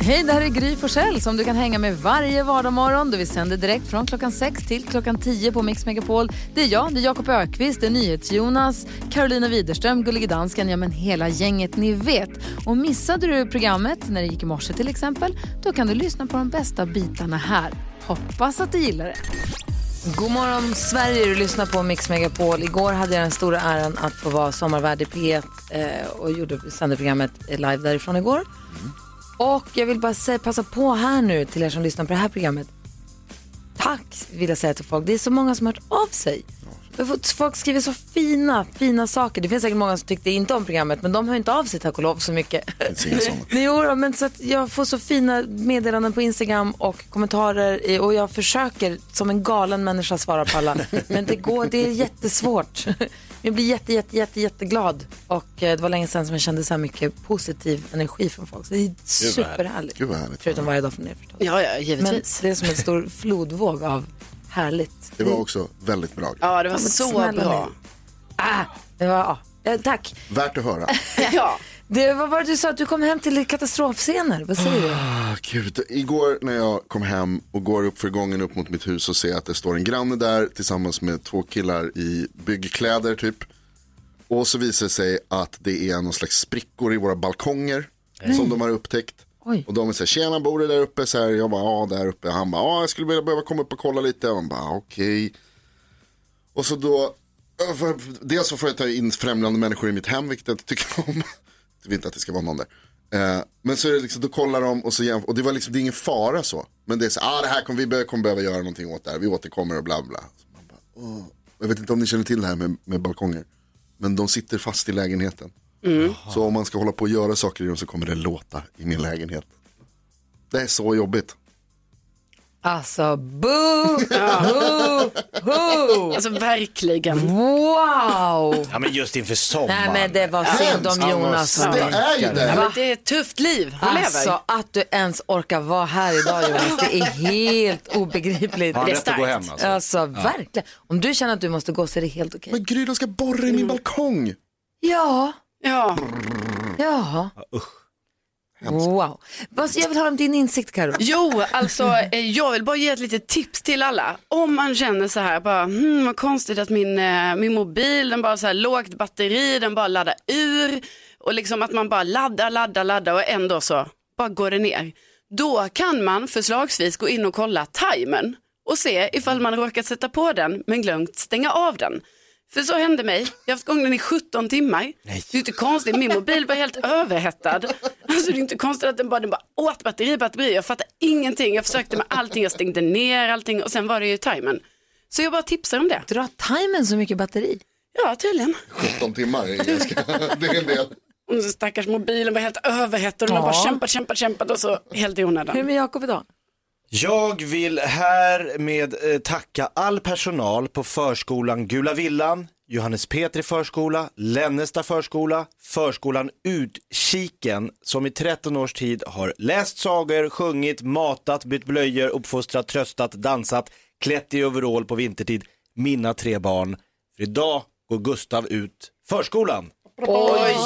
Hej, det här är Gry Forssell som du kan hänga med varje vardagsmorgon. Vi sänder direkt från klockan 6 till klockan 10 på Mix Megapol. Det är jag, det är Jakob Ökvist, det är NyhetsJonas, Carolina Widerström, Gullige Dansken, ja men hela gänget ni vet. Och missade du programmet när det gick i morse till exempel, då kan du lyssna på de bästa bitarna här. Hoppas att du gillar det. God morgon Sverige, du lyssnar på Mix Megapol. Igår hade jag den stora äran att få vara sommarvärd i P1 eh, och gjorde, sände programmet live därifrån igår. Och jag vill bara säga, passa på här nu till er som lyssnar på det här programmet. Tack vill jag säga till folk. Det är så många som har hört av sig. Jag har fått- Folk skriver så fina, fina saker. Det finns säkert många som tyckte inte om programmet men de hör inte av sig tack och lov så mycket. finns inga sådana. Nej, jo, då, men så att jag får så fina meddelanden på Instagram och kommentarer i- och jag försöker som en galen människa svara på alla. Men det går, det är jättesvårt. Men Jag blir jätte, jätte, jätte, jätteglad och eh, det var länge sedan som jag kände så här mycket positiv energi från folk. Så det är superhärligt. Gud vad härligt. Förutom varje dag från er förstås. Ja, ja, Men givetvis. det är som en stor flodvåg av härligt. Det var också väldigt bra. ja, det var men så snälla bra. Ah, det var, ja. Eh, Tack. Värt att höra. Ja. Det, vad var det du sa att du kom hem till katastrofscener? Vad säger du? Ah, Gud. Igår när jag kom hem och går upp för gången upp mot mitt hus och ser att det står en granne där tillsammans med två killar i byggkläder typ. Och så visar det sig att det är någon slags sprickor i våra balkonger som de har upptäckt. Oj. Och de är så här, tjena bor du där uppe? Så här, jag bara, ja där uppe. Han bara, ja jag skulle vilja behöva komma upp och kolla lite. Och han bara, okej. Och så då, eh, för- dels så får jag ta in främlande människor i mitt hem, vilket jag inte tycker om. Jag vill inte att det ska vara någon där. Eh, Men så är det liksom, då kollar de och så jämför, och det var liksom, det är ingen fara så. Men det är så, ah det här kommer vi be- kommer behöva göra någonting åt det här, vi återkommer och bla bla. Så man bara, åh. Jag vet inte om ni känner till det här med, med balkonger, men de sitter fast i lägenheten. Så om man ska hålla på och göra saker i dem så kommer det låta i min lägenhet. Det är så jobbigt. Alltså, boo, boo, boo. Alltså Mm. verkligen. Wow! Ja, men just inför Nej sommaren. men det var synd om Jonas. Det är ju Ja, det. men det är ett tufft liv han lever. Alltså att du ens orkar vara här idag Jonas, det är helt obegripligt. Har han det är rätt att gå hem starkt. alltså? Alltså verkligen, om du känner att du måste gå så är det helt okej. Men Gry, de ska borra i min balkong. Ja, Ja. ja. Wow. Vad- Jag vill höra om din insikt Karo. Jo, alltså eh, jag vill bara ge ett litet tips till alla. Om man känner så här, bara, hmm, vad konstigt att min, eh, min mobil, den bara så här lågt batteri, den bara laddar ur. Och liksom att man bara laddar, laddar, laddar och ändå så bara går det ner. Då kan man förslagsvis gå in och kolla timern och se ifall man råkat sätta på den men glömt stänga av den. För så hände mig. Jag har haft igång den i 17 timmar. Det är inte konstigt, min mobil var helt överhettad. Alltså det är inte konstigt att den bara, den bara åt batteri, batteri. Jag fattar ingenting. Jag försökte med allting, jag stängde ner allting och sen var det ju timern. Så jag bara tipsar om det. Dra timern så mycket batteri. Ja, tydligen. 17 timmar är ganska, det är en del. Och så stackars mobilen var helt överhettad och den Ja. bara kämpat, kämpat, kämpat och så helt i Hur är det onödan. med Jakob idag? Jag vill härmed eh, tacka all personal på förskolan Gula Villan, Johannes Petri förskola, Lennesta förskola, förskolan Utkiken som i 13 års tid har läst sagor, sjungit, matat, bytt blöjor, uppfostrat, tröstat, dansat, klätt i overall på vintertid, mina tre barn. För idag går Gustav ut förskolan. Oj!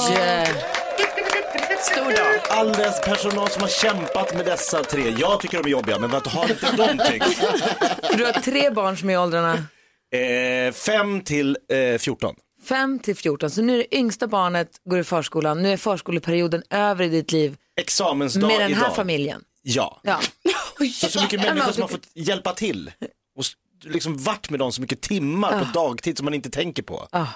Stor dag. All dess personal som har kämpat med dessa tre. Jag tycker de är jobbiga, men vad har inte de tyckt? Du har tre barn som är i åldrarna 5 till eh, 14. 5 till 14, så nu är det yngsta barnet går i förskolan, nu är förskoleperioden över i ditt liv Examensdag med den här idag. familjen. Ja. Ja. Så, så mycket människor som har fått hjälpa till och s- liksom varit med dem så mycket timmar på dagtid som man inte tänker på. Ah.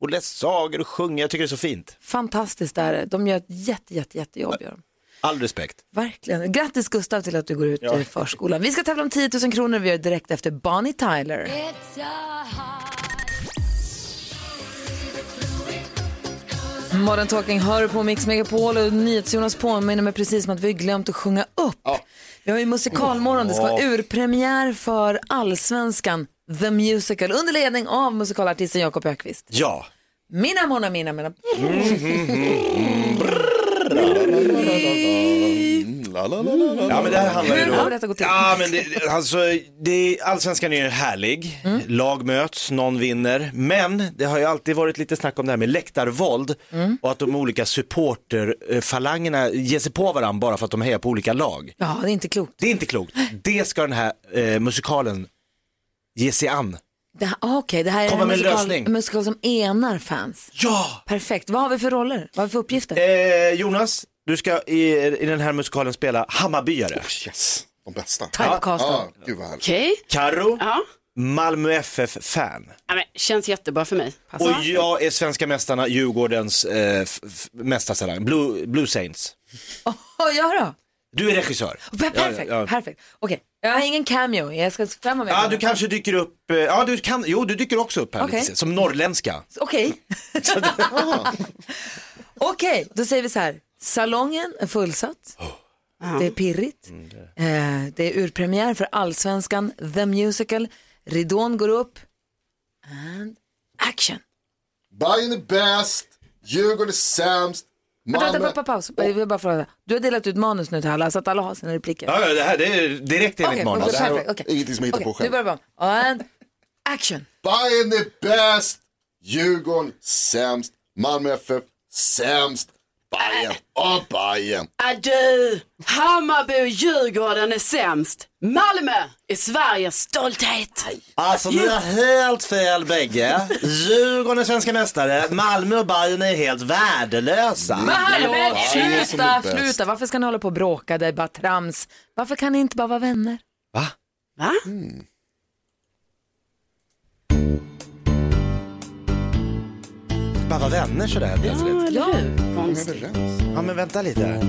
Och läst sagor och sjungit. Jag tycker det är så fint. Fantastiskt är det. De gör ett jätte, jätte, jättejobb. Gör de. All respekt. Verkligen. Grattis Gustav till att du går ut i förskolan. Vi ska tävla om 10 000 kronor. Vi gör det direkt efter Bonnie Tyler. Modern Talking hör på Mix Megapol och NyhetsJonas påminner mig precis om att vi har glömt att sjunga upp. Vi har ju musikalmorgon, det ska vara urpremiär för Allsvenskan, The Musical, under ledning av musikalartisten Jakob Ökvist. Ja. Mina mona, mina mina. Mm, La, la, la, la, Mm. la. Ja men det här handlar ju Hur då... kommer detta gå till? Ja men det, alltså, det, allsvenskan är ju härlig, Mm. lag möts, någon vinner, men det har ju alltid varit lite snack om det här med läktarvåld Mm. och att de olika supporterfalangerna ger sig på varandra bara för att de hejar på olika lag. Ja, det är inte klokt. Det är inte klokt, det ska den här eh, musikalen ge sig an. Det här, ah, okej, det här är Komma en med en musikal, lösning. en musikal som enar fans. Ja! Perfekt. Vad har vi för roller? Vad har vi för uppgifter? Eh, Jonas, du ska i, i den här musikalen spela Hammarbyare. Yes, de bästa. Typecastad. Ja, gud vad härligt. Okej, Karo, ja. Malmö FF-fan. ja men, känns jättebra för mig. Och Alltså, jag är svenska mästarna, Djurgårdens eh, f- f- mästarsalang, Blue, Blue Saints. Oh, ja då. Du är regissör. Per- Perfekt, Ja, ja, ja. perfekt. Okej, jag har ingen cameo. Jag ska fram med Ja, den. du kanske dyker upp, eh, ja du kan, jo du dyker också upp här Okej. lite sen, som norrländska. Okej. Okej, då säger vi så här. Salongen är fullsatt. Det är pirrigt. Eh, det är urpremiär för Allsvenskan, The Musical. Ridån går upp. And action. Bajen är bäst, Djurgården är sämst, Vänta, Malmö... vänta, pappa, paus. Jag vill bara fråga. Du har delat ut manus nu till alla så att alla har sina repliker. Ja, ja, det här det är direkt enligt Okej, manus. Det här Perfekt, var okej. ingenting som jag hittar Okej, på själv. nu börjar vi om. And action. Bayern är bäst, Djurgården sämst, Malmö FF sämst, Bayern och Bayern. Äh, du, Hammarby och Djurgården är sämst. Malmö är Sveriges stolthet. Alltså ni har helt fel bägge. Djurgården är svenska mästare, Malmö och Bayern är helt värdelösa. Men hallå, Nej, men- Nej, som sluta, är bäst. sluta. Varför ska ni hålla på och bråka? Det är bara trams. Varför kan ni inte bara vara vänner? Va? Va? Bara vara vänner sådär plötsligt. Eller hur? Konstigt. Ja men vänta lite.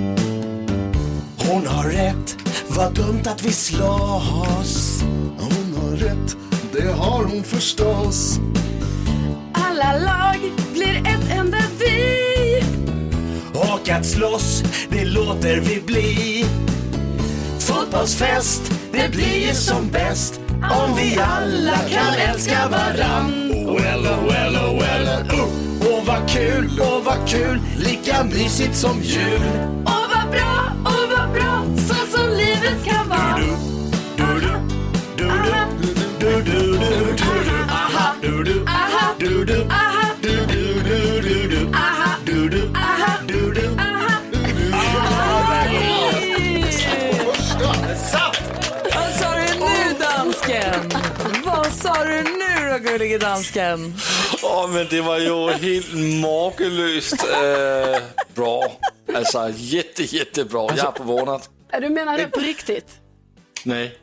Hon har rätt, vad dumt att vi slåss. Hon har rätt, det har hon förstås. Alla lag blir ett enda vi. Och att slåss, det låter vi bli. Fotbollsfest, det blir ju som bäst om vi alla kan älska varann. Oh well, oh well, oh well, oh. Och vad kul, och vad kul, lika mysigt som jul. Och vad bra, och vad bra, så som livet kan vara. Du-du, du-du, du-du-du-du-du. Aha, du-du, Aha, du-du, aha, du-du-du-du-du. aha, Du-du, aha. du-du. Vad sa du nu dansken? Vad sa du nu då gullige dansken? Åh, men det var ju helt makeløst øh, bra. Alltså, Altså, jette, jette bra. Alltså, Jeg er forvånet. Ja, Du menar det på riktigt? Nej.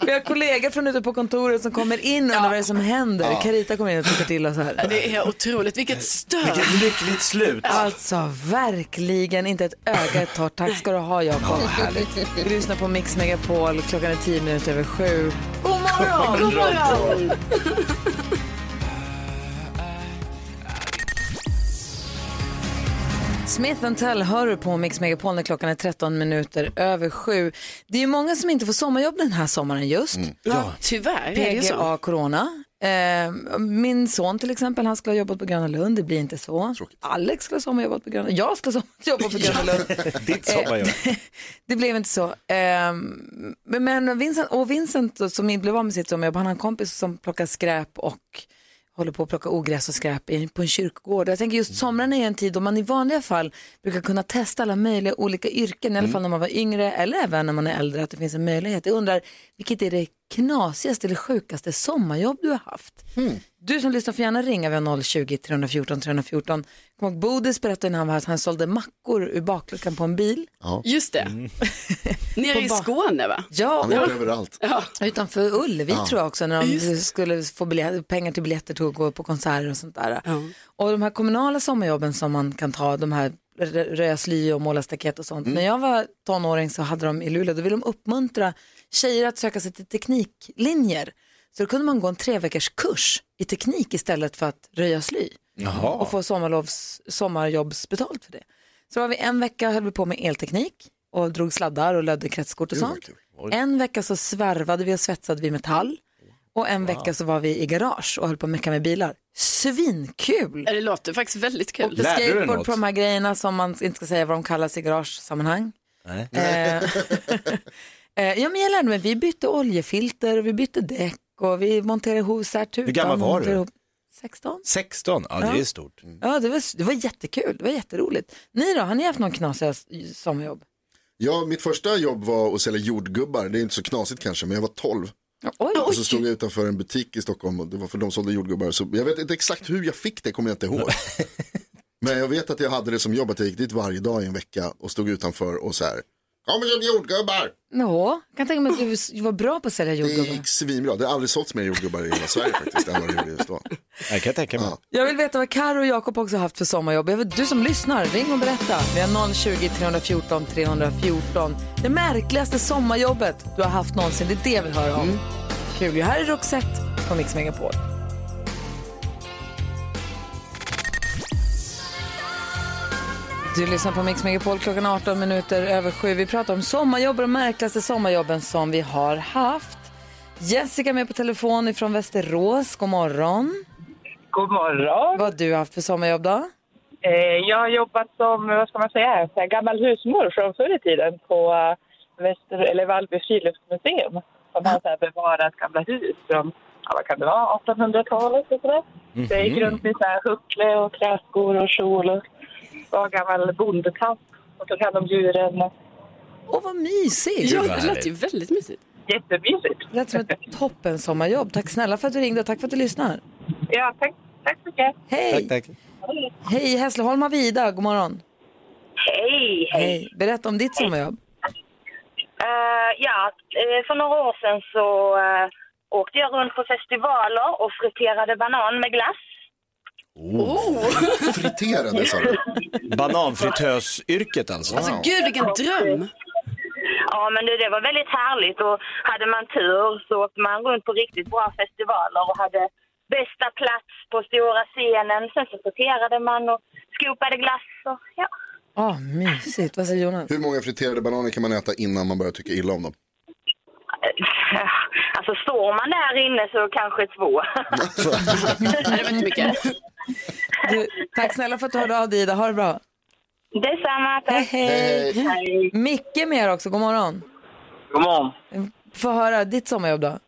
Vi har kollegor från ute på kontoret som kommer in och undrar vad det är som händer. Carita kommer in och tittar till oss här. Det är otroligt, Eh, vilket stöd. Vilket lyckligt slut. Alltså verkligen inte ett öga ett torrt. Tack ska du ha Jakob. Vi lyssnar på Mix Megapol. Klockan är tio minuter över sju. God morgon! God morgon. Smith and Tell hör du på Mix Megapol när klockan är 13 minuter över sju. Det är ju många som inte får sommarjobb den här sommaren just. Ja, tyvärr är det ju så. PGA Corona. Eh, min son till exempel, han skulle ha jobbat på Gröna Lund, det blir inte så. Alex skulle ha sommarjobbat på Gröna Jag skulle ha sommarjobbat på Gröna Lund. Ditt sommarjobb. Det blev inte så. Eh, men- men Vincent, och Vincent då, som inte blev av med sitt sommarjobb, han har en kompis som plockar skräp och håller på att plocka ogräs och skräp i- på en kyrkogård. Jag tänker just somrarna är en tid då man i vanliga fall brukar kunna testa alla möjliga olika yrken, i alla fall när man var yngre eller även när man är äldre, att det finns en möjlighet. Jag undrar, vilket är det knasigaste eller sjukaste sommarjobb du har haft? Du som lyssnar får gärna ringa, vi har 020-314 314. Kom ihåg, Bodis berättade när han var här att han sålde mackor ur bakluckan på en bil. Just det. Nere i På ba- Skåne va? Ja, Han är överallt. Utanför Ullevi tror jag också när de skulle få biljet, pengar till biljetter till att gå på konserter och sånt där. Och de här kommunala sommarjobben som man kan ta, de här rö- röja sly och måla staket och Mm. sånt. När jag var tonåring så hade de i Luleå, då ville de uppmuntra tjejer att söka sig till tekniklinjer. Så då kunde man gå en tre veckors kurs i teknik istället för att röja sly och få sommarlovs, sommarjobbsbetalt för det. Så var vi en vecka höll vi på med elteknik och drog sladdar och lödde kretskort och Gud, vad sånt. En vecka så svärvade vi och svetsade vi metall. Och en vecka så var vi i garage och höll på att mecka med bilar. Svinkul! Ja, Det låter faktiskt väldigt Och kul. Lärde du dig skateboard något? på de här grejerna som man inte ska säga vad de kallas i garagesammanhang. Nej. Eh, eh, ja, men jag lärde mig, vi bytte oljefilter och vi bytte däck och vi monterade ihop så här tutan. gammal var du? monterade ihop- 16. 16, ja, det är stort. Ja, det var, det var jättekul, det var jätteroligt. Ni då, har ni haft någon knasiga s- sommarjobb? Ja, mitt första jobb var att sälja jordgubbar. Det är inte så knasigt kanske, men jag var 12. Oj, Och så stod jag utanför en butik i Stockholm och det var för de sålde jordgubbar. Så jag vet inte exakt hur jag fick det, kommer jag inte ihåg. Men jag vet att jag hade det som jobb att jag gick dit varje dag i en vecka och stod utanför och så här. Kom och köp jordgubbar! Nå, jag kan tänka mig att du s- var bra på att sälja Det jordgubbar. gick svinbra. Det har aldrig sålts mer jordgubbar i hela Sverige faktiskt än vad det gjorde just då. Jag kan tänka mig. Jag vill veta vad Karo och Jakob också har haft för sommarjobb. Jag vill, du som lyssnar, ring och berätta. Vi har 020 314 314. Det märkligaste sommarjobbet du har haft någonsin, det är det jag vill höra om. Kul ju. Här är Roxette på Mix Megapol. Du lyssnar på Mix Megapol klockan 18 minuter över sju. Vi pratar om sommarjobb och de märkligaste sommarjobben som vi har haft. Jessica är med på telefon ifrån Västerås. God morgon. God morgon. Vad har du haft för sommarjobb då? Eh, Jag har jobbat som, vad ska man säga, så här gammal husmor från förr i tiden på eh, Väster, eller Vallby friluftsmuseum som har så här bevarat gamla hus från, ja, vad kan det vara, 1800-talet och sådär. Mhm. Så jag Mm. gick runt i så här huckle och träskor och kjol och var gammal bondetant och tog hand om djuren. Åh, vad mysigt! Ja, vad det lät härligt. ju väldigt mysigt. Jättemysigt. Det lät som ett toppen sommarjobb. Tack snälla för att du ringde och tack för att du lyssnar. Ja, tack, tack så mycket. Hej! Tack, tack. Hej, Hässleholm har vi Ida. God morgon. Hej, hej. Berätta om ditt sommarjobb. Eh, ja, eh, för några år sedan så eh, åkte jag runt på festivaler och friterade banan med glass. Oh. Oh. Friterade sa du. Bananfritösyrket alltså. Alltså gud vilken dröm. Ja, men det, det var väldigt härligt och hade man tur så åkte man runt på riktigt bra festivaler och hade bästa plats på stora scenen. Sen så friterade man och skopade glass och ja. Åh, mysigt. Vad säger Jonas? Hur många friterade bananer kan man äta innan man börjar tycka illa om dem? Eh, Alltså står man där inne så kanske två. Nej, det var inte mycket. Du, tack snälla för att du hörde av dig, Ida. Ha det bra. Detsamma, tack. Hej, hej! Eh, Hej. Micke är med här också. God morgon. God morgon. Få höra ditt sommarjobb då.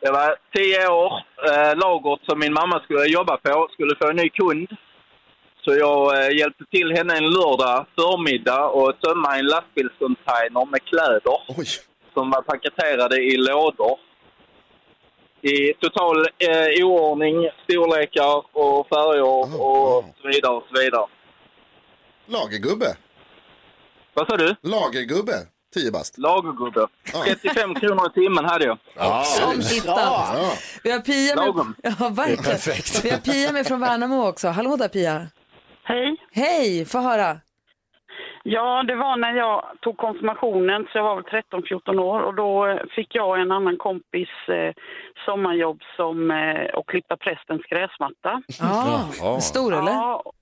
Jag var tio år. Eh, lagret som min mamma skulle jobba på skulle få en ny kund. Så jag eh, hjälpte till henne en lördag förmiddag och tömma en lastbilscontainer med kläder Oj, som var paketerade i lådor. I total eh, oordning, storlekar och färger och Aha. så vidare och så vidare. lagergubbe. Vad sa du? Lagergubbe. Tio bast. Lagergubbe. Ja. 35 kronor i timmen hade jag. Som hittat. Ja. Vi har Pia med... Lagom. Ja, verkligen. Perfekt. Vi har Pia med från Värnamo också. Hallå där, Pia. Hej. Hej! Få höra. Ja, det var när jag tog konfirmationen, så jag var väl 13-14 år. Och då eh, fick jag och en annan kompis eh, sommarjobb som eh, att klippa prästens gräsmatta. Ja, Jaha. stor eller? Ja,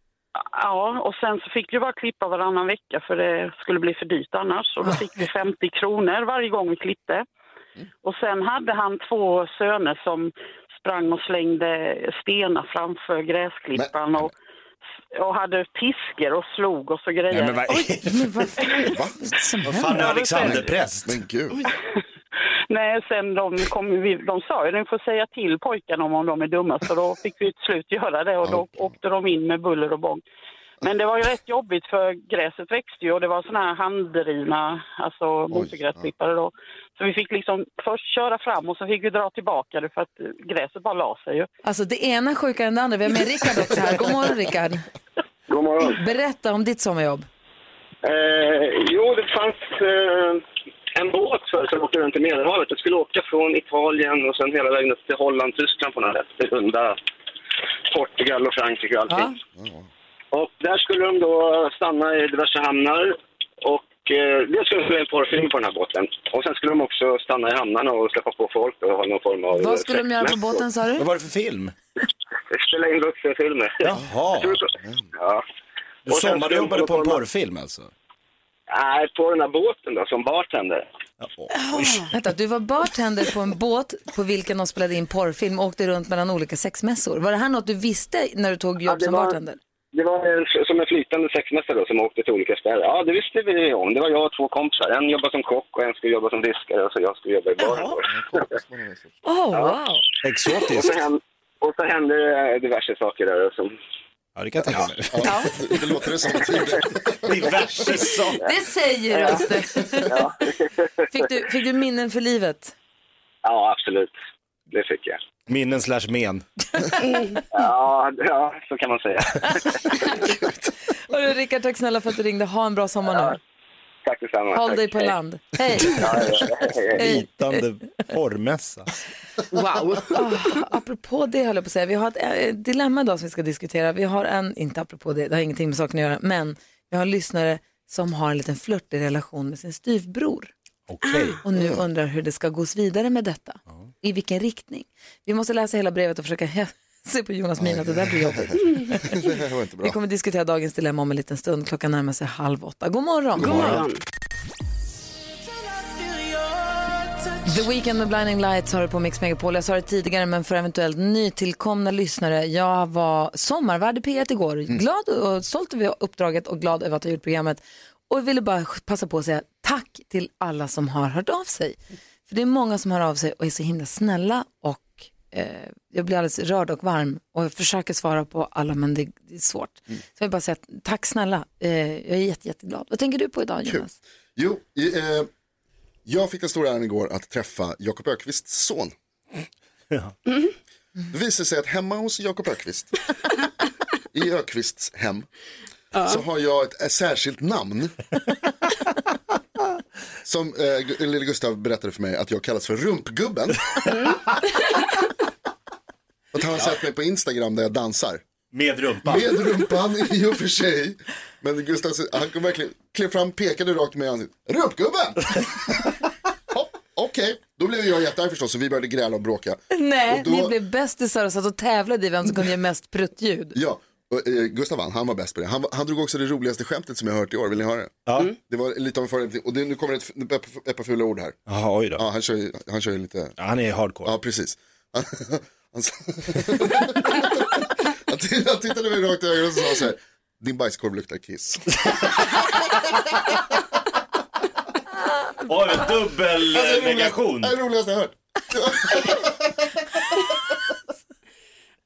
ja, och sen så fick vi bara klippa varannan vecka för det skulle bli för dyrt annars. Och då fick vi 50 kronor varje gång vi klippte. Och sen hade han två söner som sprang och slängde stenar framför gräsklipparen och, och hade piskor och slog oss och grejer. Nej, men vad är det Men vad Va? som Vad fan händer? är Alexander präst? Men gud. Nej, sen de, kom, ju- vi, de sa ju att ni får säga till pojkarna om, om de är dumma, så då fick vi till slut göra det och då åkte de in med buller och bång. Men det var ju rätt jobbigt för gräset växte ju och det var såna här handdrivna, alltså motorgräsklippare då. Så vi fick liksom först köra fram och så fick vi dra tillbaka det för att eh, gräset bara la sig ju. Alltså det ena är sjukare än det andra. Vi har med Rickard också här. God morgon Rickard. God morgon. Berätta om ditt sommarjobb. Eh, jo, det fanns eh, en båt förr som åkte runt i Medelhavet. Jag skulle åka från Italien och sen hela vägen upp till Holland, Tyskland på något sätt. Till Hunda, Portugal och Frankrike och allting. Och där skulle de då stanna i diverse hamnar. Och eh, dels skulle de spela en porrfilm på den här båten. Och sen skulle de också stanna i hamnarna och släppa på folk och ha någon form av... Vad skulle de sex göra på med. båten sa du? Vad var det för film? Spela in vuxenfilmer. Jaha. Ja. Du Och sen skulle de sommarjobbade på en komma- porrfilm alltså? Nej, på den här båten då, som bartender. Vänta, du var bartender på en båt på vilken de spelade in porrfilm och åkte runt mellan olika sexmässor. Var det här något du visste när du tog jobb det som var- bartender? Det var en, som en flytande sexmästare då, som åkte till olika ställen. Ja, det visste vi om. Det var jag och två kompisar. En jobbade som kock och en skulle jobba som diskare och så jag skulle jobba i baren. Oh, wow. Exotiskt. Och så, hände, och så hände det diverse saker där. Som... Ja, det kan jag tänka mig. Det låter det som att Diverse saker. Det säger du att det. Fick du, fick du minnen för livet? Ja, absolut. Det fick jag. Minnen slash men. Ja, ja, så kan man säga. Hörru, Rickard, tack snälla för att du ringde. Ha en bra sommar nu. Tack detsamma. Håll Tack. dig på Hej. land. Hej! Ja, ja, ja. Hej, hej. Flytande porrmässa. Wow. Ah, apropå det höll jag på att säga, vi har ett eh, dilemma idag som vi ska diskutera. Vi har en, inte apropå det, det har ingenting med saken att göra, men vi har en lyssnare som har en liten flörtig relation med sin styvbror. Okej. Ah. Och nu undrar hur det ska gås vidare med detta. I vilken riktning. Vi måste läsa hela brevet och försöka hä- se på Jonas min att det där blir jobbigt. Det här var inte Vi bra. kommer diskutera dagens dilemma om en liten stund. Klockan närmar sig halv åtta. God morgon. God morgon. The Weeknd med Blinding Lights har du på Mix Megapol. Jag sa det tidigare, men för eventuellt nytillkomna lyssnare. Jag var sommarvärd i P1 igår. Glad och stolt över uppdraget och glad över att ha gjort programmet. Och jag ville bara passa på att säga tack till alla som har hört av sig. För det är många som hör av sig och är så himla snälla och eh, jag blir alldeles rörd och varm och jag försöker svara på alla men det, det är svårt. Så jag vill bara säga tack snälla. Eh, jag är jätte, jätteglad. Vad tänker du på idag Kul. Jonas? Jo, eh, jag fick den stora äran igår att träffa Jakob Ökvists son. Det visar sig att hemma hos Jakob Ökvist, i Ökvists hem, så har jag ett, ett särskilt namn. Som eh, Gu- lille Gustav berättade för mig att jag kallas för Rumpgubben. Och han har sett mig på Instagram där jag dansar. Med rumpan. Med rumpan i och för sig. Men Gustav, han kom verkligen, klev fram, pekade rakt med ansiktet. Rumpgubben! Hopp, Okej, då blev jag jättearg förstås och vi började gräla och bråka. Nej, och då, ni blev bästisar och satt och tävlade i vem som kunde ge mest pruttljud. Ja, och, eh, Gustav vann, han var bäst på det. Han, var- han drog också det roligaste skämtet som jag hört i år, vill ni höra det? Mm. Ja. Det var lite av en förolämpning, och det, nu kommer ett, ett, par- ett par fula ord här. Jaha, oj då. Ja, han kör ju, han kör ju lite Ja, Han är hardcore. Ja, precis. Han, han, sa- han, tittade, han tittade mig rakt i ögonen och sa så här. Din bajskorv luktar kiss. Oj, dubbel Alltså, eh, det roligaste- negation. Det är det roligaste jag hört.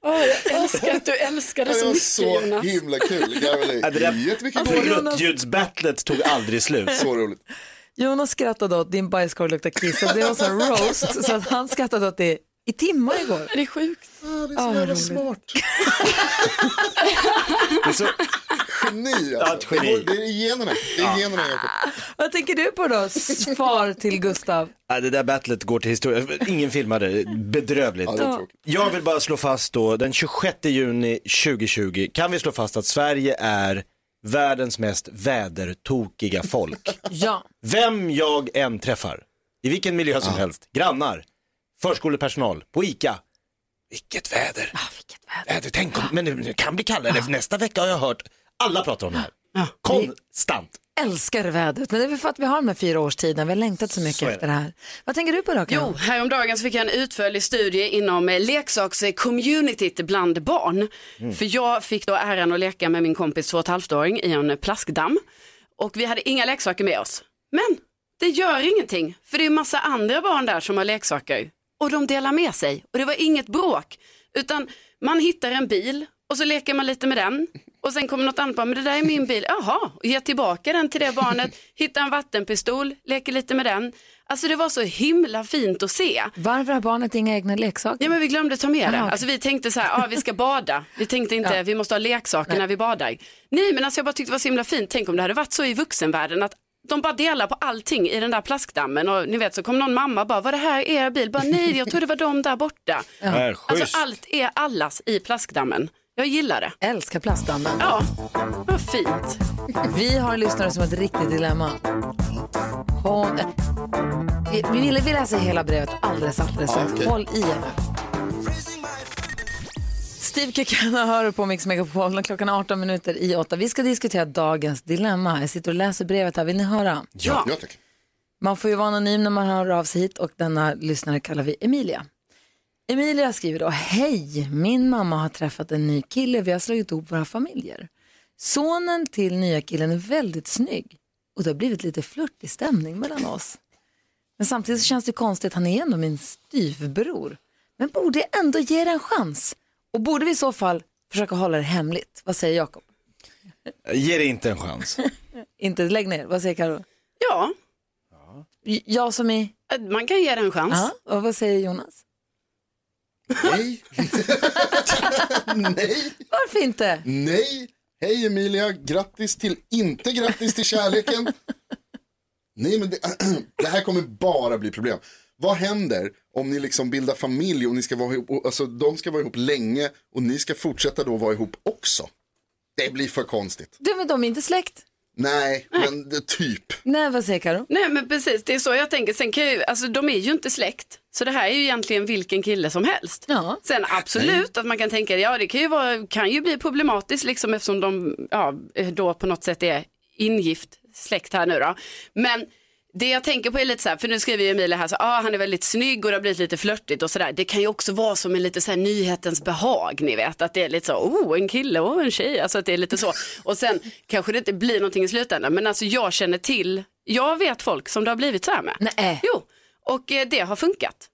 Åh, jag älskar att du älskar det Det så var mycket så Alltså, Jonas. himla kul. Det Ja, var det det- där- Jättemycket För kul. Ruttgjudsbattlet tog aldrig slut. Så roligt. Jonas skrattade åt din bajskorv luktar kiss och det var så en roast så att han skrattade åt det i timmar igår. Det är sjukt. Ja, det är så jävla smart. Det är så, Geni Ja, ett alltså. geni. Det är i generna. Det är i generna Jakob. Vad tänker du på då? Svar till Gustav. ja, det där battlet går till historien. Ingen filmade det. Bedrövligt. Ja, det är tråkigt. Jag vill bara slå fast då, den 26 juni 2020 kan vi slå fast att Sverige är världens mest vädertokiga folk. Ja. Vem jag än träffar, i vilken miljö som helst, grannar, förskolepersonal, på ICA. Vilket väder! Ah, väder. Äh, Tänk om, men nu, nu kan bli kallare, för nästa vecka har jag hört alla pratar om det här. Konstant. Älskar vädret, men det är väl för att vi har de här fyra årstiderna. Vi har längtat så mycket Så är det. efter det här. Vad tänker du på då? Karin? Jo, häromdagen så fick jag en utförlig studie inom eh, leksakscommunityt bland barn. För jag fick då äran att leka med min kompis två och ett halvt åring i en eh, plaskdamm. Och vi hade inga leksaker med oss. Men det gör ingenting, för det är massa andra barn där som har leksaker. Och de delar med sig. Och det var inget bråk. Utan man hittar en bil och så leker man lite med den. Och sen kommer något annat barn, men det där är min bil. Jaha, och ge tillbaka den till det barnet. Hitta en vattenpistol, leker lite med den. Alltså det var så himla fint att se. Varför har barnet inga egna leksaker? Ja men vi glömde ta med det. okej. Alltså vi tänkte så här, ah, vi ska bada. Vi tänkte inte, vi måste ha leksaker när vi badar. Nej men alltså jag bara tyckte det var så himla fint. Tänk om det hade varit så i vuxenvärlden att de bara delar på allting i den där plaskdammen och ni vet så kom någon mamma bara, var det här er bil? Bara, Nej jag tror det var de där borta. Ja. Alltså allt är allas i plaskdammen. Jag gillar det. Älskar plastdammen. Ja, vad fint. Vi har en lyssnare som har ett riktigt dilemma. Hon... Vi, vi, vill- vi läser hela brevet alldeles, alldeles strax. okej. Håll i er nu. Steve Kekana hör på Mix Megapol och klockan är 18 minuter i 8. Vi ska diskutera dagens dilemma. Jag sitter och läser brevet här. Vill ni höra? Ja. Ja, tack. Man får ju vara anonym när man hör av sig hit och denna lyssnare kallar vi Emilia. Emilia skriver då, hej, min mamma har träffat en ny kille, vi har slagit ihop våra familjer. Sonen till nya killen är väldigt snygg och det har blivit lite flörtig stämning mellan oss. Men samtidigt så känns det konstigt, han är ändå min styvbror. Men borde jag ändå ge det en chans? Och borde vi i så fall försöka hålla det hemligt? Vad säger Jakob? Ge det inte en chans. Inte lägg ner, vad säger Karo? Ja. J- Jag som är... Man kan ge det en chans. Ja, och vad säger Jonas? Nej. Nej. Varför inte? Nej. Hej Emilia, grattis till, inte grattis till kärleken. Nej men det, det här kommer bara bli problem. Vad händer om ni liksom bildar familj och ni ska vara ihop, och, alltså de ska vara ihop länge och ni ska fortsätta då vara ihop också? Det blir för konstigt. Du men de är inte släkt. Nej, men det, typ. Nej, vad säger Karo? Nej men precis, det är så jag tänker. Sen kan ju, alltså, de är ju inte släkt. Så det här är ju egentligen vilken kille som helst. Sen absolut att man kan tänka, ja det kan ju, vara, kan ju bli problematiskt liksom eftersom de ja, eh, då på något sätt är ingift släkt här nu då. Men det jag tänker på är lite så här, för nu skriver ju Emilia här så ah, han är väldigt snygg och det har blivit lite flörtigt och sådär. Det kan ju också vara som en lite så här nyhetens behag, ni vet, att det är lite så, oh en kille och en tjej, alltså att det är lite så. Och sen kanske det inte blir någonting i slutändan, men alltså jag känner till, jag vet folk som det har blivit så här med. Nej. Jo, och eh, det har funkat.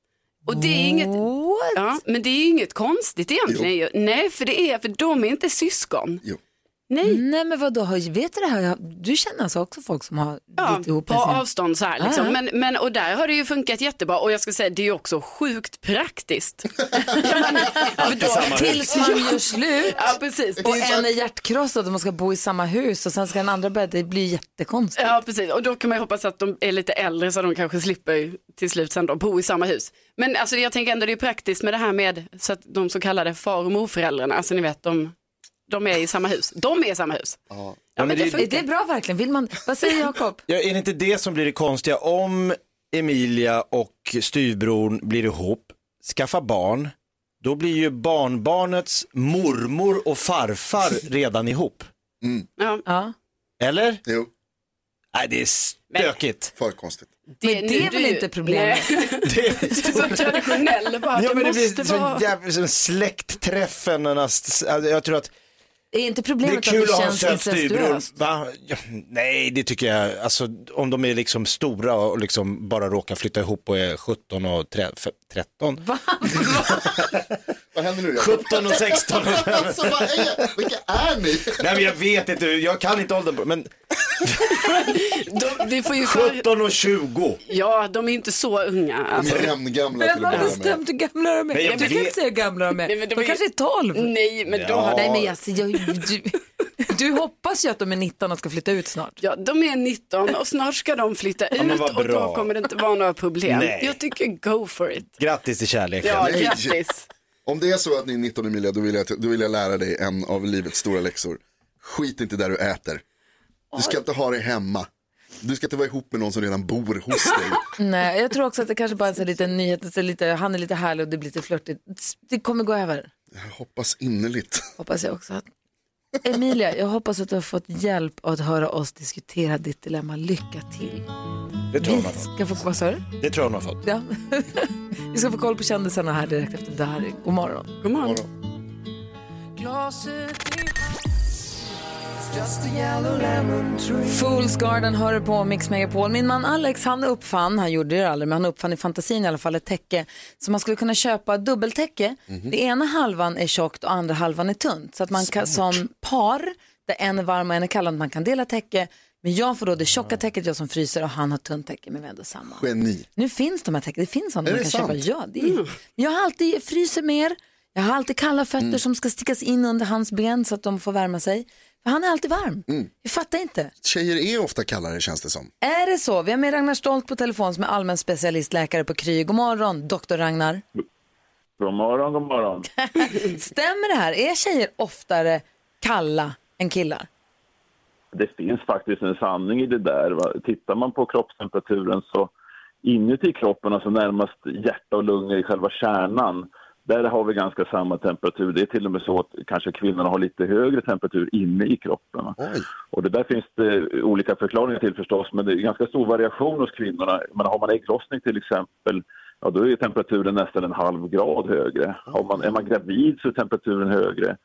Och det är inget, ja, men det är ju inget konstigt egentligen ju. Nej, för det är, för de är inte syskon. Nej. Nej, men vadå, har- vet du det här? Jag- Du känner alltså också folk som har Ja, blivit ihop Ah. på med sin- avstånd så här liksom. Ja, ja. Men, men, och där har det ju funkat jättebra och jag ska säga det är ju också sjukt praktiskt. Ja, men- för då- Tills man gör slut. Ja, precis. Och en är hjärtkrossad och man ska bo i samma hus och sen ska den andra börja, det blir jättekonstigt. Ja, precis. Och då kan man ju hoppas att de är lite äldre så de kanske slipper ju till slut sen då bo i samma hus. Men alltså, jag tänker ändå det är praktiskt med det här med så att de så kallade far och morföräldrarna, alltså ni vet de, de är i samma hus. De är i samma hus. Ja, men det Är det bra verkligen? Vill man... Vad säger Jakob? Ja, är det inte det som blir det konstiga? Om Emilia och styvbron blir ihop, skaffa barn, då blir ju barnbarnets mormor och farfar redan ihop. Ja. Eller? Jo. Nej, det är stökigt. För konstigt. Men det är väl inte problemet? så traditionell bara, Ja, det, men det måste blir så vara... jävla som släktträffen. och näst- alltså, Jag tror att Är inte det är problemet kul att att det ha en känns söt styvbror. incestuöst? Va? Ja, nej, det tycker jag. Alltså, om de är liksom stora och liksom bara råkar flytta ihop och är 17 och tre- f- 13. Vad händer nu? 17 och 16. alltså, vad är, vilka är ni? Nej, men jag vet inte. Jag kan inte åldern. på- Men De, vi får ju för... 17 och 20. Ja, de är inte så unga. De Alltså. är jämngamla Vem till att har börja med. bestämt hur gamla de är? Nej, jag Du kan vet- inte säga hur gamla de är. Nej, men de de är ju- kanske är 12. Nej, men de, Ja. har... Nej, men jag, jag, du, du hoppas ju att de är 19 och ska flytta ut snart. Ja, de är 19 och snart ska de flytta ut men vad och då bra. kommer det inte vara några problem. Nej. Jag tycker go for it. Grattis till kärleken. Ja, Nej. grattis. Om det är så att ni är 19 Emilia, då vill, jag, då vill jag lära dig en av livets stora läxor. Skit inte där du äter. Du ska inte ha det hemma. Du ska inte vara ihop med någon som redan bor hos dig. Nej, jag tror också att det kanske bara är en sån här liten nyhet, så lite, han är lite härlig och det blir lite flörtigt. Det kommer gå över, Jag hoppas innerligt. hoppas jag också. Emilia, jag hoppas att du har fått hjälp av att höra oss diskutera ditt dilemma. Lycka till. Det Vi tror jag hon har fått. ska få, vad sa du? Det tror jag hon har fått. Ja. Vi ska få koll på kändisarna här direkt efter Dari. God morgon. God morgon. Fools Garden hör du på Mix Megapol. Min man Alex han uppfann, han gjorde det aldrig, men han uppfann i fantasin i alla fall ett täcke som man skulle kunna köpa dubbeltäcke. Mhm. Det ena halvan är tjockt och andra halvan är tunt. Så att man kan, som par, där en är varm och en är kall, att man kan dela täcke. Men jag får då det tjocka täcket, jag som fryser, och han har tunt täcke, men vi är ändå samma. Geni. Nu finns de här täcken, det finns sådana Är man det kan sant? Uh. köpa. Ja, det är... Jag har alltid fryser mer, jag har alltid kalla fötter Mm. som ska stickas in under hans ben så att de får värma sig. För han är alltid varm. Mm. Jag fattar inte. Tjejer är ofta kallare känns det som. Är det så? Vi har med Ragnar Stolt på telefon som är allmän specialistläkare på Kry. God morgon, doktor Ragnar. Mm. God morgon, god morgon. Stämmer det här? Är tjejer oftare kalla än killar? Det finns faktiskt en sanning i det där. Va? Tittar man på kroppstemperaturen så inuti kroppen, alltså närmast hjärta och lungor i själva kärnan, Där har vi ganska samma temperatur. Det är till och med så att kanske kvinnorna har lite högre temperatur inne i kroppen. va. Och det där finns det olika förklaringar till förstås, men det är ganska stor variation hos kvinnorna. Men har man ägglossning till exempel, ja då är temperaturen nästan en halv grad högre. Har man, är man gravid så är temperaturen högre.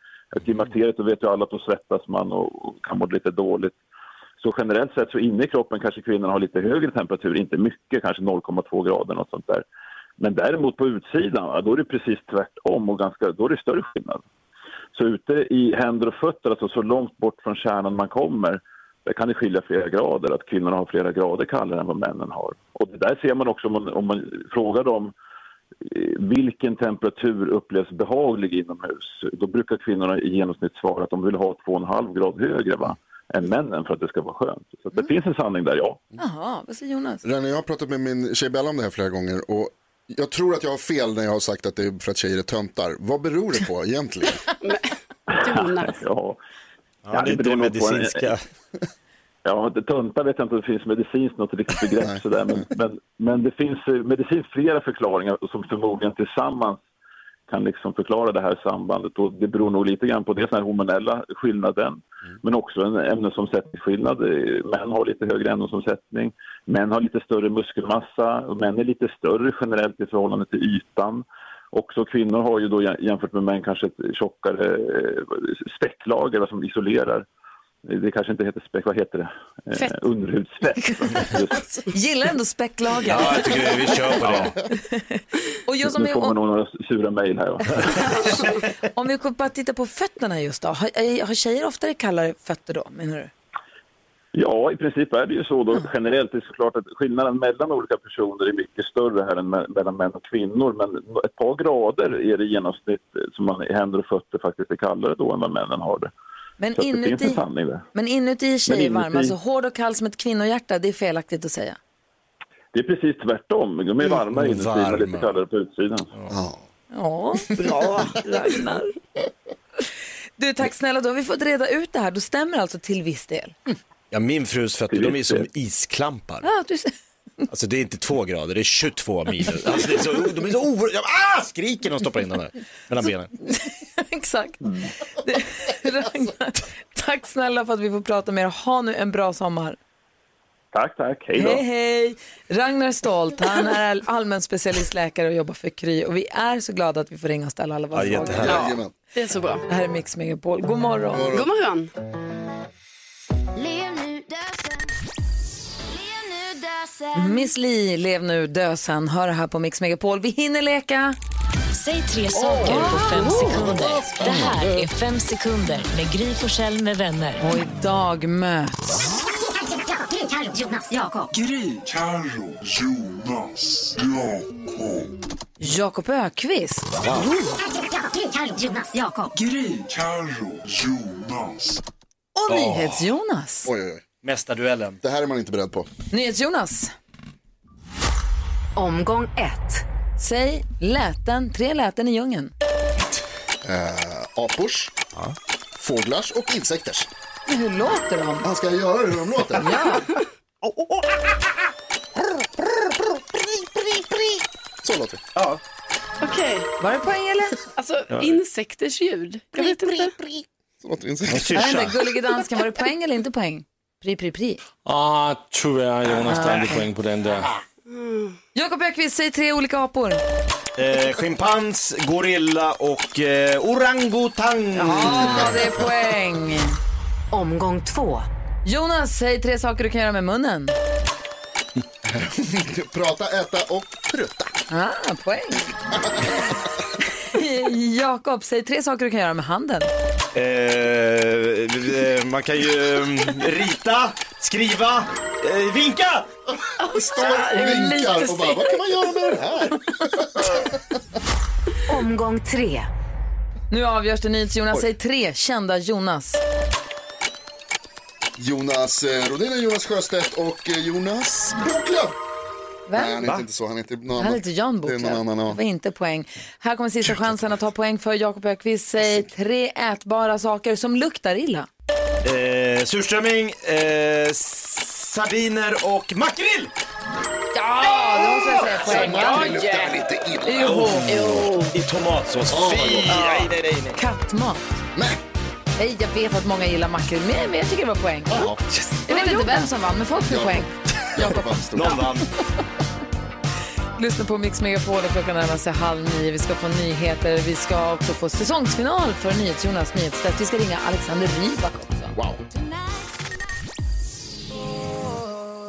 Klimakteriet, då vet ju alla att då svettas man och och kan må lite dåligt. Så generellt sett så inne i kroppen kanske kvinnorna har lite högre temperatur, inte mycket, kanske 0,2 grader något sånt där. Men däremot på utsidan, va, då är det precis tvärtom och ganska, då är det större skillnad. Så ute i händer och fötter, alltså så långt bort från kärnan man kommer, där kan det skilja flera grader, att kvinnorna har flera grader kallare än vad männen har. Och det där ser man också om man, om man frågar dem eh, vilken temperatur upplevs behaglig inomhus. Då brukar kvinnorna i genomsnitt svara att de vill ha 2,5 grad högre va, än männen för att det ska vara skönt. Så att det finns en sanning där, ja. Jaha, vad säger Jonas? René, jag har pratat med min tjej Bella om det här flera gånger och jag tror att jag har fel när jag har sagt att det är för att tjejer är töntar. Vad beror det på egentligen? Ja. Ja, det är inte beror nog på medicinska. en- Ja, det- töntar vet jag inte om det finns medicinskt något riktigt begrepp sådär, men, men, men det finns eh, medicinskt flera förklaringar som förmodligen tillsammans kan liksom förklara det här sambandet och det beror nog lite grann på dels den här hormonella skillnaden men också en ämnesomsättningsskillnad. Eh, Män har lite högre ämnesomsättning, män har lite större muskelmassa och män är lite större generellt i förhållande till ytan. Också kvinnor har ju då jäm- jämfört med män kanske ett tjockare eh, späcklager va, som isolerar. Det kanske inte heter späck, vad heter det? Eh, Fett. Underhudsfett. Mm. Gillar ändå späcklagen. det. Och just om, Nu vi, kommer om, nog några sura mejl här. va? om vi bara tittar på fötterna just då. Har, har tjejer oftare kallare fötter då, menar du? Ja, i princip är det ju så. Då. Generellt är det såklart att skillnaden mellan olika personer är mycket större här än me- mellan män och kvinnor. Men ett par grader är det i genomsnitt eh, som man i händer och fötter faktiskt är kallare då än vad männen har det. Men så att det finns inuti- en sanning där. Men inuti är tjejer inuti- varma, så hård och kall som ett kvinnohjärta, det är felaktigt att säga. Det är precis tvärtom. De är varma inuti men lite kallare på utsidan. Ja, bra Ragnar. Du, tack snälla. Då har vi fått reda ut det här. Då stämmer det alltså till viss del. Ja, min frus fötter, de är som isklampar. Ja, du... Alltså det är inte två grader, det är 22 minus. Alltså, det är så, de är så oerhört, jag ah, skriker när de stoppar in den där mellan benen. Exakt. Mm. Det, Ragnar, tack snälla för att vi får prata med er. Ha nu en bra sommar. Tack, tack. Hej då. Hej, hej. Ragnar Stolt, han är allmän specialistläkare och jobbar för Kry. Och vi är så glada att vi får ringa och ställa alla våra Ja, frågor. jättehärligt. Jajamän. Det är så bra. Det här är Mix Megapol. God morgon. God morgon. Miss Li, lev nu, dö sen. Hör det här på Mix Megapol. Vi hinner leka. Säg tre saker på fem sekunder. Det här är fem sekunder med Gry Forssell med vänner. Och idag möts... Gry, Carro, Jonas, Jakob. Gry. Carro, Jonas, Jakob. Jakob Ökvist. Gry, Carro, Jonas, Jakob. Gry, Carro, Jonas. Och NyhetsJonas. Oj, oj, oj. Mästarduellen. Det här är man inte beredd på. NyhetsJonas. Omgång ett. Säg läten, tre läten i djungeln. Eh, apors, fåglars och insekters. Men hur låter de? Han ska göra hur de låter. Så låter det. Ja. Okej. Var det poäng eller? Alltså Ja. insekters ljud. Jag vet inte. Så låter insekter. Jag vet inte, Gullige dansken, var det poäng eller inte poäng? Pri, pri, pri. Ah, tyvärr Jonas, det är aldrig poäng på den där. Jakob Ökvist, säg tre olika apor. Eh, schimpans, gorilla och eh, orangutang. Ja, det är poäng. Omgång två. Jonas, säg tre saker du kan göra med munnen. Prata, äta och prutta. Ah, poäng. Jakob, säg tre saker du kan göra med handen. Eh, eh, man kan ju eh, rita, skriva, eh, vinka. Står och vinkar och bara, vad kan man göra med det här? Omgång tre. Nu avgörs det NyhetsJonas, Oj. säg tre kända Jonas. Jonas eh, Rodin, Jonas Sjöstedt och eh, Jonas Boklöv. Vem? Nej, han Va? heter inte så. Han heter någon Han annan. heter Jan Det är Boklöv. någon annan, Det ja. var inte poäng. Här kommer sista chansen att ta poäng för Jakob Ökvist. Säg tre ätbara saker som luktar illa. Eh, surströmming, eh, sardiner och makrill. Ja, det var så jag säger poäng. Ja, Ja, ja. ja. lite illa. Jo. I tomatsås. Åh, vad Fy! gott. Nej, nej, nej, nej. Kattmat. Nej, jag vet att många gillar makrill, men men jag tycker det var poäng. Jag vet inte vem som vann, men folk fick poäng. Någon vann. Lyssna på Mix Megapol och klockan närmar sig halv nio. Vi ska få nyheter. Vi ska också få säsongsfinal för NyhetsJonas nyhetstest. Vi ska ringa Alexander Rybak också. Wow.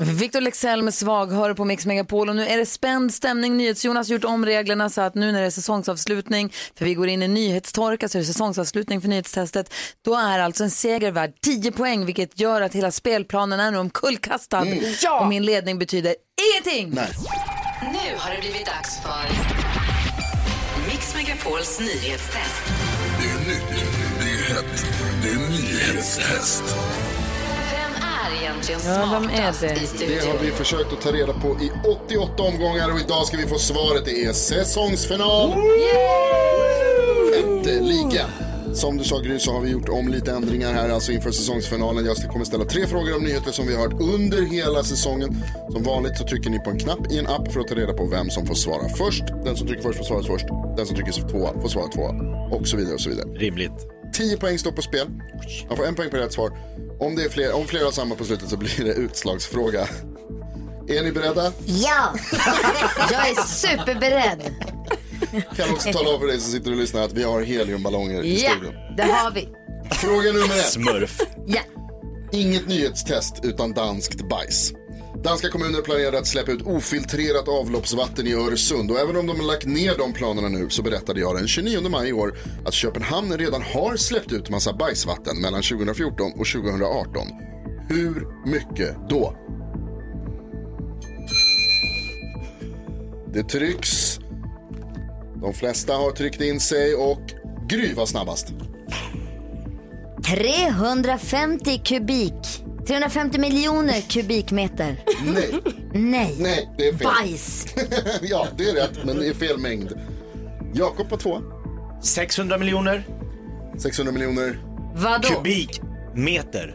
Victor Lexell med Svaghöre på Mix Megapol och nu är det spänd stämning. NyhetsJonas har gjort om reglerna så att nu när det är säsongsavslutning, för vi går in i nyhetstorka så är det säsongsavslutning för nyhetstestet, då är alltså en seger värd 10 poäng vilket gör att hela spelplanen är nu omkullkastad Mm. Ja! och min ledning betyder ingenting. Nu har det blivit dags för Mix Megapols nyhetstest. Det är nytt, det är hett, det är nyhetstest. Vem är egentligen Ja, vem smartast är det? i Det har studion? vi försökt att ta reda på i 88 omgångar och idag ska vi få svaret. Det är säsongsfinal! Äntligen! Som du sa Gry så har vi gjort om lite ändringar här alltså inför säsongsfinalen. Jag kommer ställa tre frågor om nyheter som vi har hört under hela säsongen. Som vanligt så trycker ni på en knapp i en app för att ta reda på vem som får svara först. Den som trycker först får svara först. Den som trycker tvåa får svara tvåa. Och så vidare och så vidare. Rimligt. 10 poäng står på spel. Man får en poäng per rätt svar. Om, det är fler, om flera har samma på slutet så blir det utslagsfråga. Är ni beredda? Ja, jag är superberedd. Kan också tala om för dig som sitter och lyssnar att vi har heliumballonger i Ja, studion. det har vi. Fråga nummer ett. Smurf. Ja. Inget nyhetstest utan danskt bajs. Danska kommuner planerar att släppa ut ofiltrerat avloppsvatten i Öresund och även om de har lagt ner de planerna nu så berättade jag den 29 maj i år att Köpenhamn redan har släppt ut massa bajsvatten mellan 2014 och 2018. Hur mycket då? Det trycks. De flesta har tryckt in sig och Gry var snabbast. 350 kubik. 350 miljoner kubikmeter. Nej. Nej. Nej, det är fel. Bajs. ja, det är rätt, men det är fel mängd. Jakob på två. 600 miljoner. 600 miljoner. Vadå? Kubikmeter.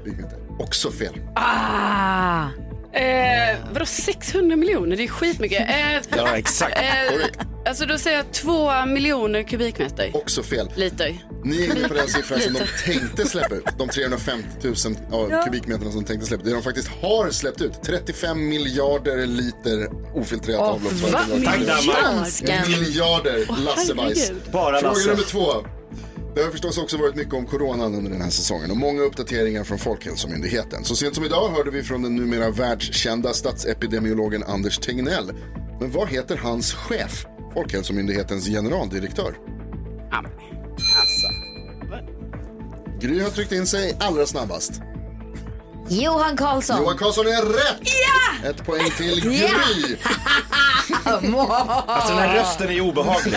Också fel. Ah! Eh, vadå 600 miljoner? Det är skitmycket. Eh, Ja, exakt. Eh, alltså då säger jag 2 miljoner kubikmeter. Också fel. Liter. Ni är inne på den siffran som de tänkte släppa ut. De 350 000 ja, Ja. kubikmeterna som de tänkte släppa ut. Det de faktiskt har släppt ut. 35 miljarder liter ofiltrerat Åh, va? avloppsvatten. Tack, Danmark. Dansken. Miljarder Lassebajs. herregud. Bara Fråga Lasse. nummer två. Det har förstås också varit mycket om coronan under den här säsongen och många uppdateringar från Folkhälsomyndigheten. Så sent som idag hörde vi från den numera världskända statsepidemiologen Anders Tegnell. Men vad heter hans chef, Folkhälsomyndighetens generaldirektör? Alltså. Gry har tryckt in sig allra snabbast. Johan Karlsson. Johan Karlsson är rätt! Ja! Ett poäng till Gry. Ja! Alltså den här rösten är obehaglig.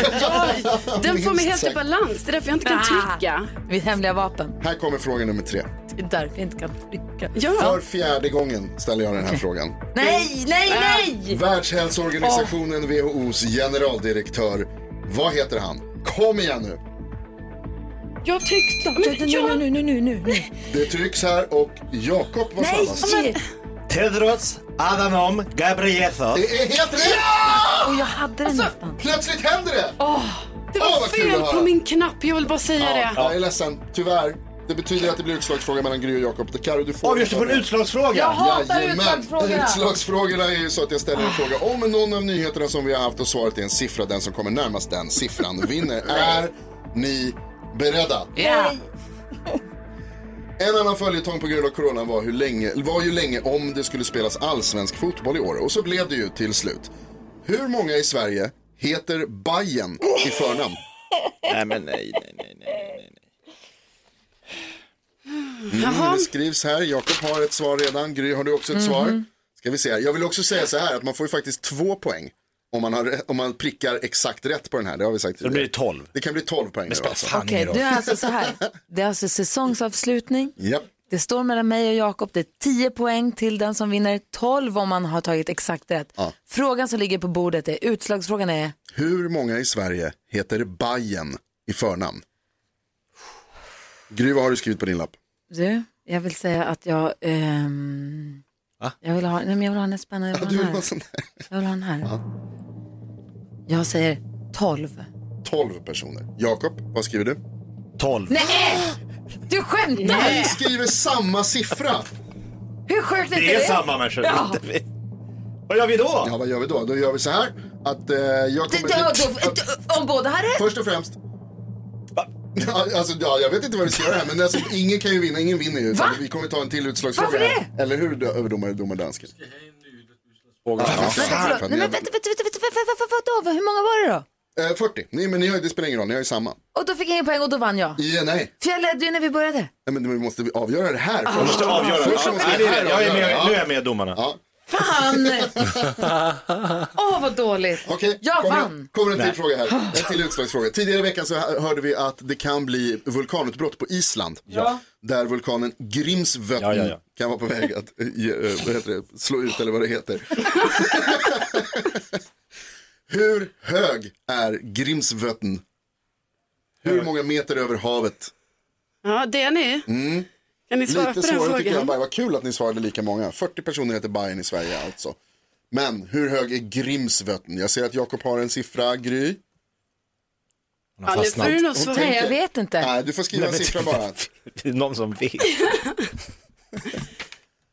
Den får mig helt Minst i sagt. balans. Det är därför jag inte kan Ah. trycka. Vid hemliga vapen. Här kommer fråga nummer tre. Det är därför jag inte kan trycka. För fjärde gången ställer jag den här frågan. Nej, nej, Ah. nej! Världshälsoorganisationen WHOs generaldirektör. Vad heter han? Kom igen nu. Jag tyckte... Nu, nu, nu, nu, nu. nu. Det trycks här och Jakob var Nej! snabbast. Tedros Adhanom Ghebreyesus. Det är helt rätt! Och jag hade den Alltså- nästan. Plötsligt händer det! det var Åh, vad kul fel att höra. på min knapp. Jag vill bara säga Ja, det. jag är ledsen, tyvärr. Det betyder att det blir utslagsfråga mellan Gry och Jakob. Det- Karo, du får... Avgörs det på en utslagsfråga? Jag hatar Jajamän. utslagsfrågorna. Utslagsfrågorna är ju så att jag ställer en fråga om någon av nyheterna som vi har haft och svaret är en siffra. Den som kommer närmast den siffran vinner. Är ni beredda? Ja. En annan följetong på grund av corona var, hur länge, var ju länge om det skulle spelas allsvensk fotboll i år och så blev det ju till slut. Hur många i Sverige heter Bajen i förnamn? Nej, men nej, nej, nej, nej. Mm, det skrivs här. Jakob har ett svar redan. Gry, har du också ett Mm-hmm. svar? Ska vi se här. Jag vill också säga så här att man får ju faktiskt två poäng om man, har, om man prickar exakt rätt på den här. Det har vi sagt Då blir det 12. Det kan bli 12 poäng. nu alltså. Okej, du är alltså så här. Det är alltså säsongsavslutning. Japp. Det står mellan mig och Jakob. Det är 10 poäng till den som vinner 12 om man har tagit exakt rätt. Ja. Frågan som ligger på bordet är, utslagsfrågan är, Hur många i Sverige heter Bajen i förnamn? Gry, vad har du skrivit på din lapp? du, jag vill säga att jag, ehm, jag vill ha, nej, nej, men jag vill ha den här spännande. Jag vill ha den här. Jag vill ha den här. Jag säger 12. 12 personer. Jakob, vad skriver du? 12. Nej! Du skämtar! Ni skriver samma siffra. Hur sjukt Det är samma människor. Ja. Vad gör vi då? Ja, vad gör vi då? Då gör vi så här att eh, jag Det, kommer... det, då, om båda har rätt? Först och främst. Ja, alltså, ja, jag vet inte vad vi ska göra här, men alltså, ingen kan ju vinna, ingen vinner ju. utan Va? Vi kommer ta en till utslagsfråga. Varför här. Eller hur, dö- överdomare, domare dansken? Fråga. Förlåt, Nej, men vänta, vänta, vänta, vänta, vänta, vänta, vänta, vadå? Hur många var det då? Eh, 40. Nej, men ni har, ju- det spelar ingen roll, ni har ju samma. Och då fick jag ingen poäng och då vann jag. Ja, nej. För jag ledde ju när vi började. nej, men vi måste avgöra det här Ah. först. Vi måste avgöra. Först Ja, måste nej, vi det är här det. Jag är med, avgöra. nu är jag med domarna. Fan! Åh, vad dåligt. Okej, jag kommer, vann. kommer en till Nej. fråga Ah. här. En till utslagsfråga. Tidigare i veckan så hö- hörde vi att det kan bli vulkanutbrott på Island. Ja. Där vulkanen Grimsvötn Ja, ja, ja. kan vara på väg att eh, ge, eh, vad heter det, slå ut eller vad det heter. Hur hög är Grimsvötn? Hur många meter över havet? Ja, det är ni. Mm. Kan ni svara Lite på den svårare tycker jag. frågan? Bara, vad kul att ni svarade lika många. 40 personer heter Bayern i Sverige alltså. Men hur hög är Grimsvötn? Jag ser att Jakob har en siffra, har Gry. Ja, nu fastnat. får du nog svara. Nej, jag vet inte. Nej, du får skriva en Nej, men- siffra bara. Det är någon som vet.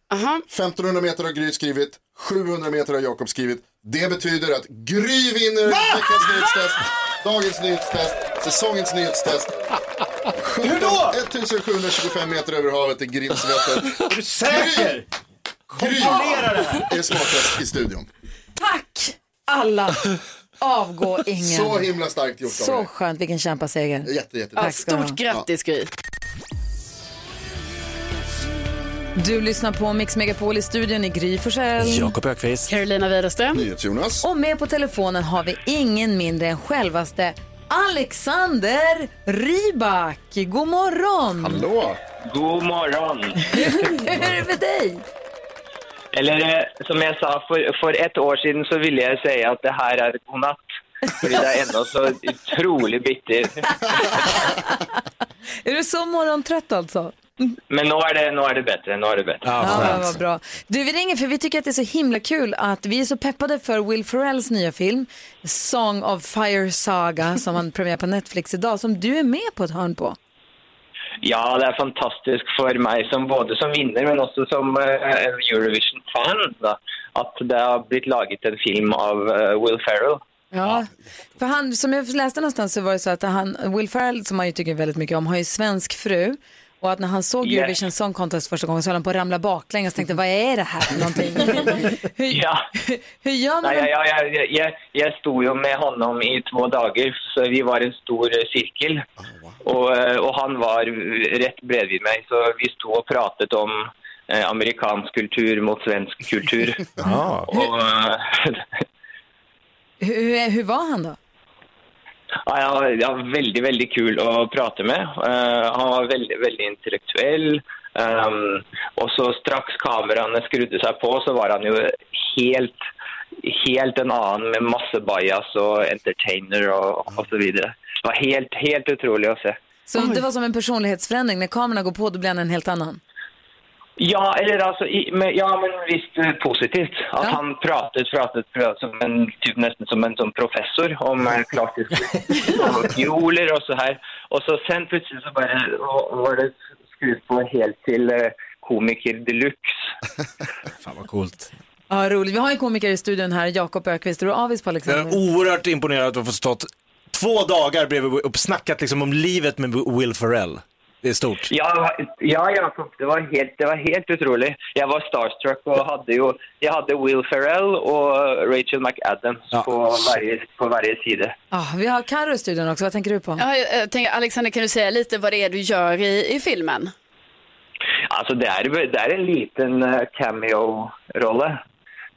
1500 meter har Gry skrivit, 700 meter har Jakob skrivit. Det betyder att Gry vinner veckans nyhetstest, dagens nyhetstest, säsongens nyhetstest. Hur då? 1725 meter över havet är Grimsvötn. Är du säker? Gry Kontrollera det här. är smartast i studion. Tack alla. Avgå ingen. Så himla starkt gjort av Så dig. skönt, vilken kämpaseger. Jätte, jätte. Tack ska du ha. Stort grattis Gry. Du lyssnar på Mix Megapol i studion i Gry Forssell. Ökvist. Carolina Widerström. Jonas. Och med på telefonen har vi ingen mindre än självaste Alexander Rybak. God morgon! Hallå! God morgon! Hur är det med dig? Eller eh, som jag sa, för, för ett år sedan så ville jag säga att det här är godnatt. För det är ändå så otroligt bitter. Är du så morgontrött alltså? Men nu är det, nu är det bättre, nu är det bättre. Ja, vad bra. Du, vi ringer för vi tycker att det är så himla kul att vi är så peppade för Will Ferrells nya film Song of Fire Saga som han premiär på Netflix idag som du är med på ett hörn på. Ja, det är fantastiskt för mig som både som vinnare men också som eh, en Eurovision-fan då, att det har blivit laget en film av eh, Will Ferrell. Ja, för han, som jag läste någonstans så var det så att han, Will Ferrell som man ju tycker väldigt mycket om har ju svensk fru och att när han såg Yeah. Eurovision Song Contest första gången så höll han på att ramla baklänges och tänkte vad är det här för någonting? Ja. Hur gör man? Nej, jag, jag, jag, jag, jag stod ju med honom i två dagar, så vi var en stor eh, cirkel. och, eh, och han var eh, rätt bredvid mig, så vi stod och pratade om eh, amerikansk kultur mot svensk kultur. och, eh, Hur, hur, hur var han då? ja, ja, ja, väldigt, väldigt kul att prata med. Eh, han var väldigt, väldigt intellektuell. Ehm, och så strax kameran skrudde sig på så var han ju helt, helt en annan med massa bias och entertainer och, och så vidare. Det var helt, helt otroligt att se. Så det var som en personlighetsförändring, när kamerorna går på då blir han en helt annan. Ja, eller alltså, i, men, ja, men visst eh, positivt. Att han pratade, pratade, pratade som en, typ nästan som en som professor om eh, klassisk och fioler och så här. Och så sen plötsligt så bara och, och var det skruvat på helt till eh, komiker deluxe. Fan vad coolt. Ja, roligt. Vi har en komiker i studion här, Jakob Ökvist. Är du avis på Jag Alexander? är oerhört imponerad att du har fått stått två dagar bredvid och snackat liksom om livet med Will Ferrell. Det är stort. Ja, ja Jakob, det var, helt, det var helt otroligt. Jag var starstruck och hade ju, jag hade Will Ferrell och Rachel McAdams på, varje, på varje sida. Ja, vi har Carro i studion också, vad tänker du på? Ja, jag, jag tänker, Alexander, kan du säga lite vad det är du gör i, i filmen? Alltså det är, det är en liten eh, cameo-rolle.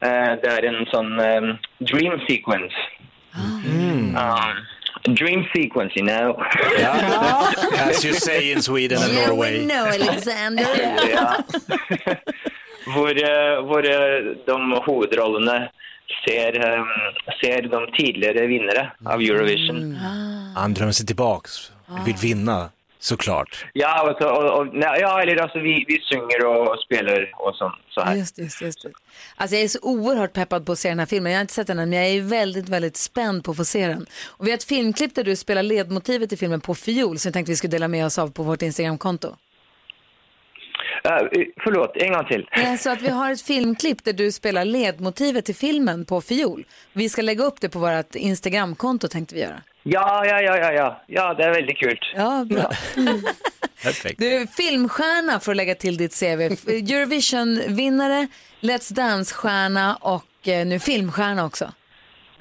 Eh, Det är en sån eh, dream sequence. Um, dream sequence, you know. As you say in Sweden and Yeah, Norway. we know Alexander. Ja. Hvor, eh, hvor eh, de hovedrollene ser, eh, ser de tidligere vinnere av Eurovision. Ah. Han drömmer sig tillbaks, vill vinna. Såklart. Ja, och så, och, och, nej, ja eller alltså vi, vi synger och spelar och så, så här. Just, just, just. Alltså jag är så oerhört peppad på att se den här filmen. Jag har inte sett den än, men jag är väldigt, väldigt spänd på att få se den. Och vi har ett filmklipp där du spelar ledmotivet i filmen på fiol, som jag tänkte vi skulle dela med oss av på vårt Instagramkonto. Eh, förlåt, en gång till. Nej, Så att vi har ett filmklipp där du spelar ledmotivet till filmen på fiol. Vi ska lägga upp det på vårt Instagramkonto tänkte vi göra. Ja, ja, ja, ja, ja, ja, det är väldigt kul. Ja, bra. Perfekt. Du är filmstjärna för att lägga till ditt CV. F- Eurovision-vinnare, Let's Dance-stjärna och eh, nu filmstjärna också.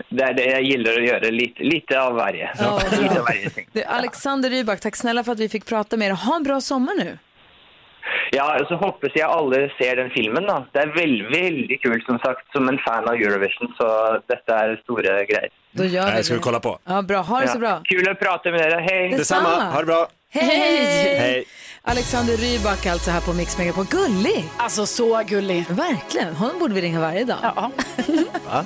Det, det, jag gillar att göra lite, lite av varje. Ja, bra. lite av varje ting. Du, Alexander Rybak, tack snälla för att vi fick prata med er. Ha en bra sommar nu. Ja, så hoppas jag alla ser den filmen då. Det är väldigt, väldigt kul som sagt, som en fan av Eurovision, så detta är stora grejer. Då gör vi Jag ska det. kolla på. Ja, bra. Ha det så Ja. bra. Kul att prata med er, hej! Detsamma. Ha det bra. Hej! Hej. Alexander Rybak alltså här på Mix Megapol. Gullig! Alltså så gullig. Verkligen. Honom borde vi ringa varje dag. Ja. Va?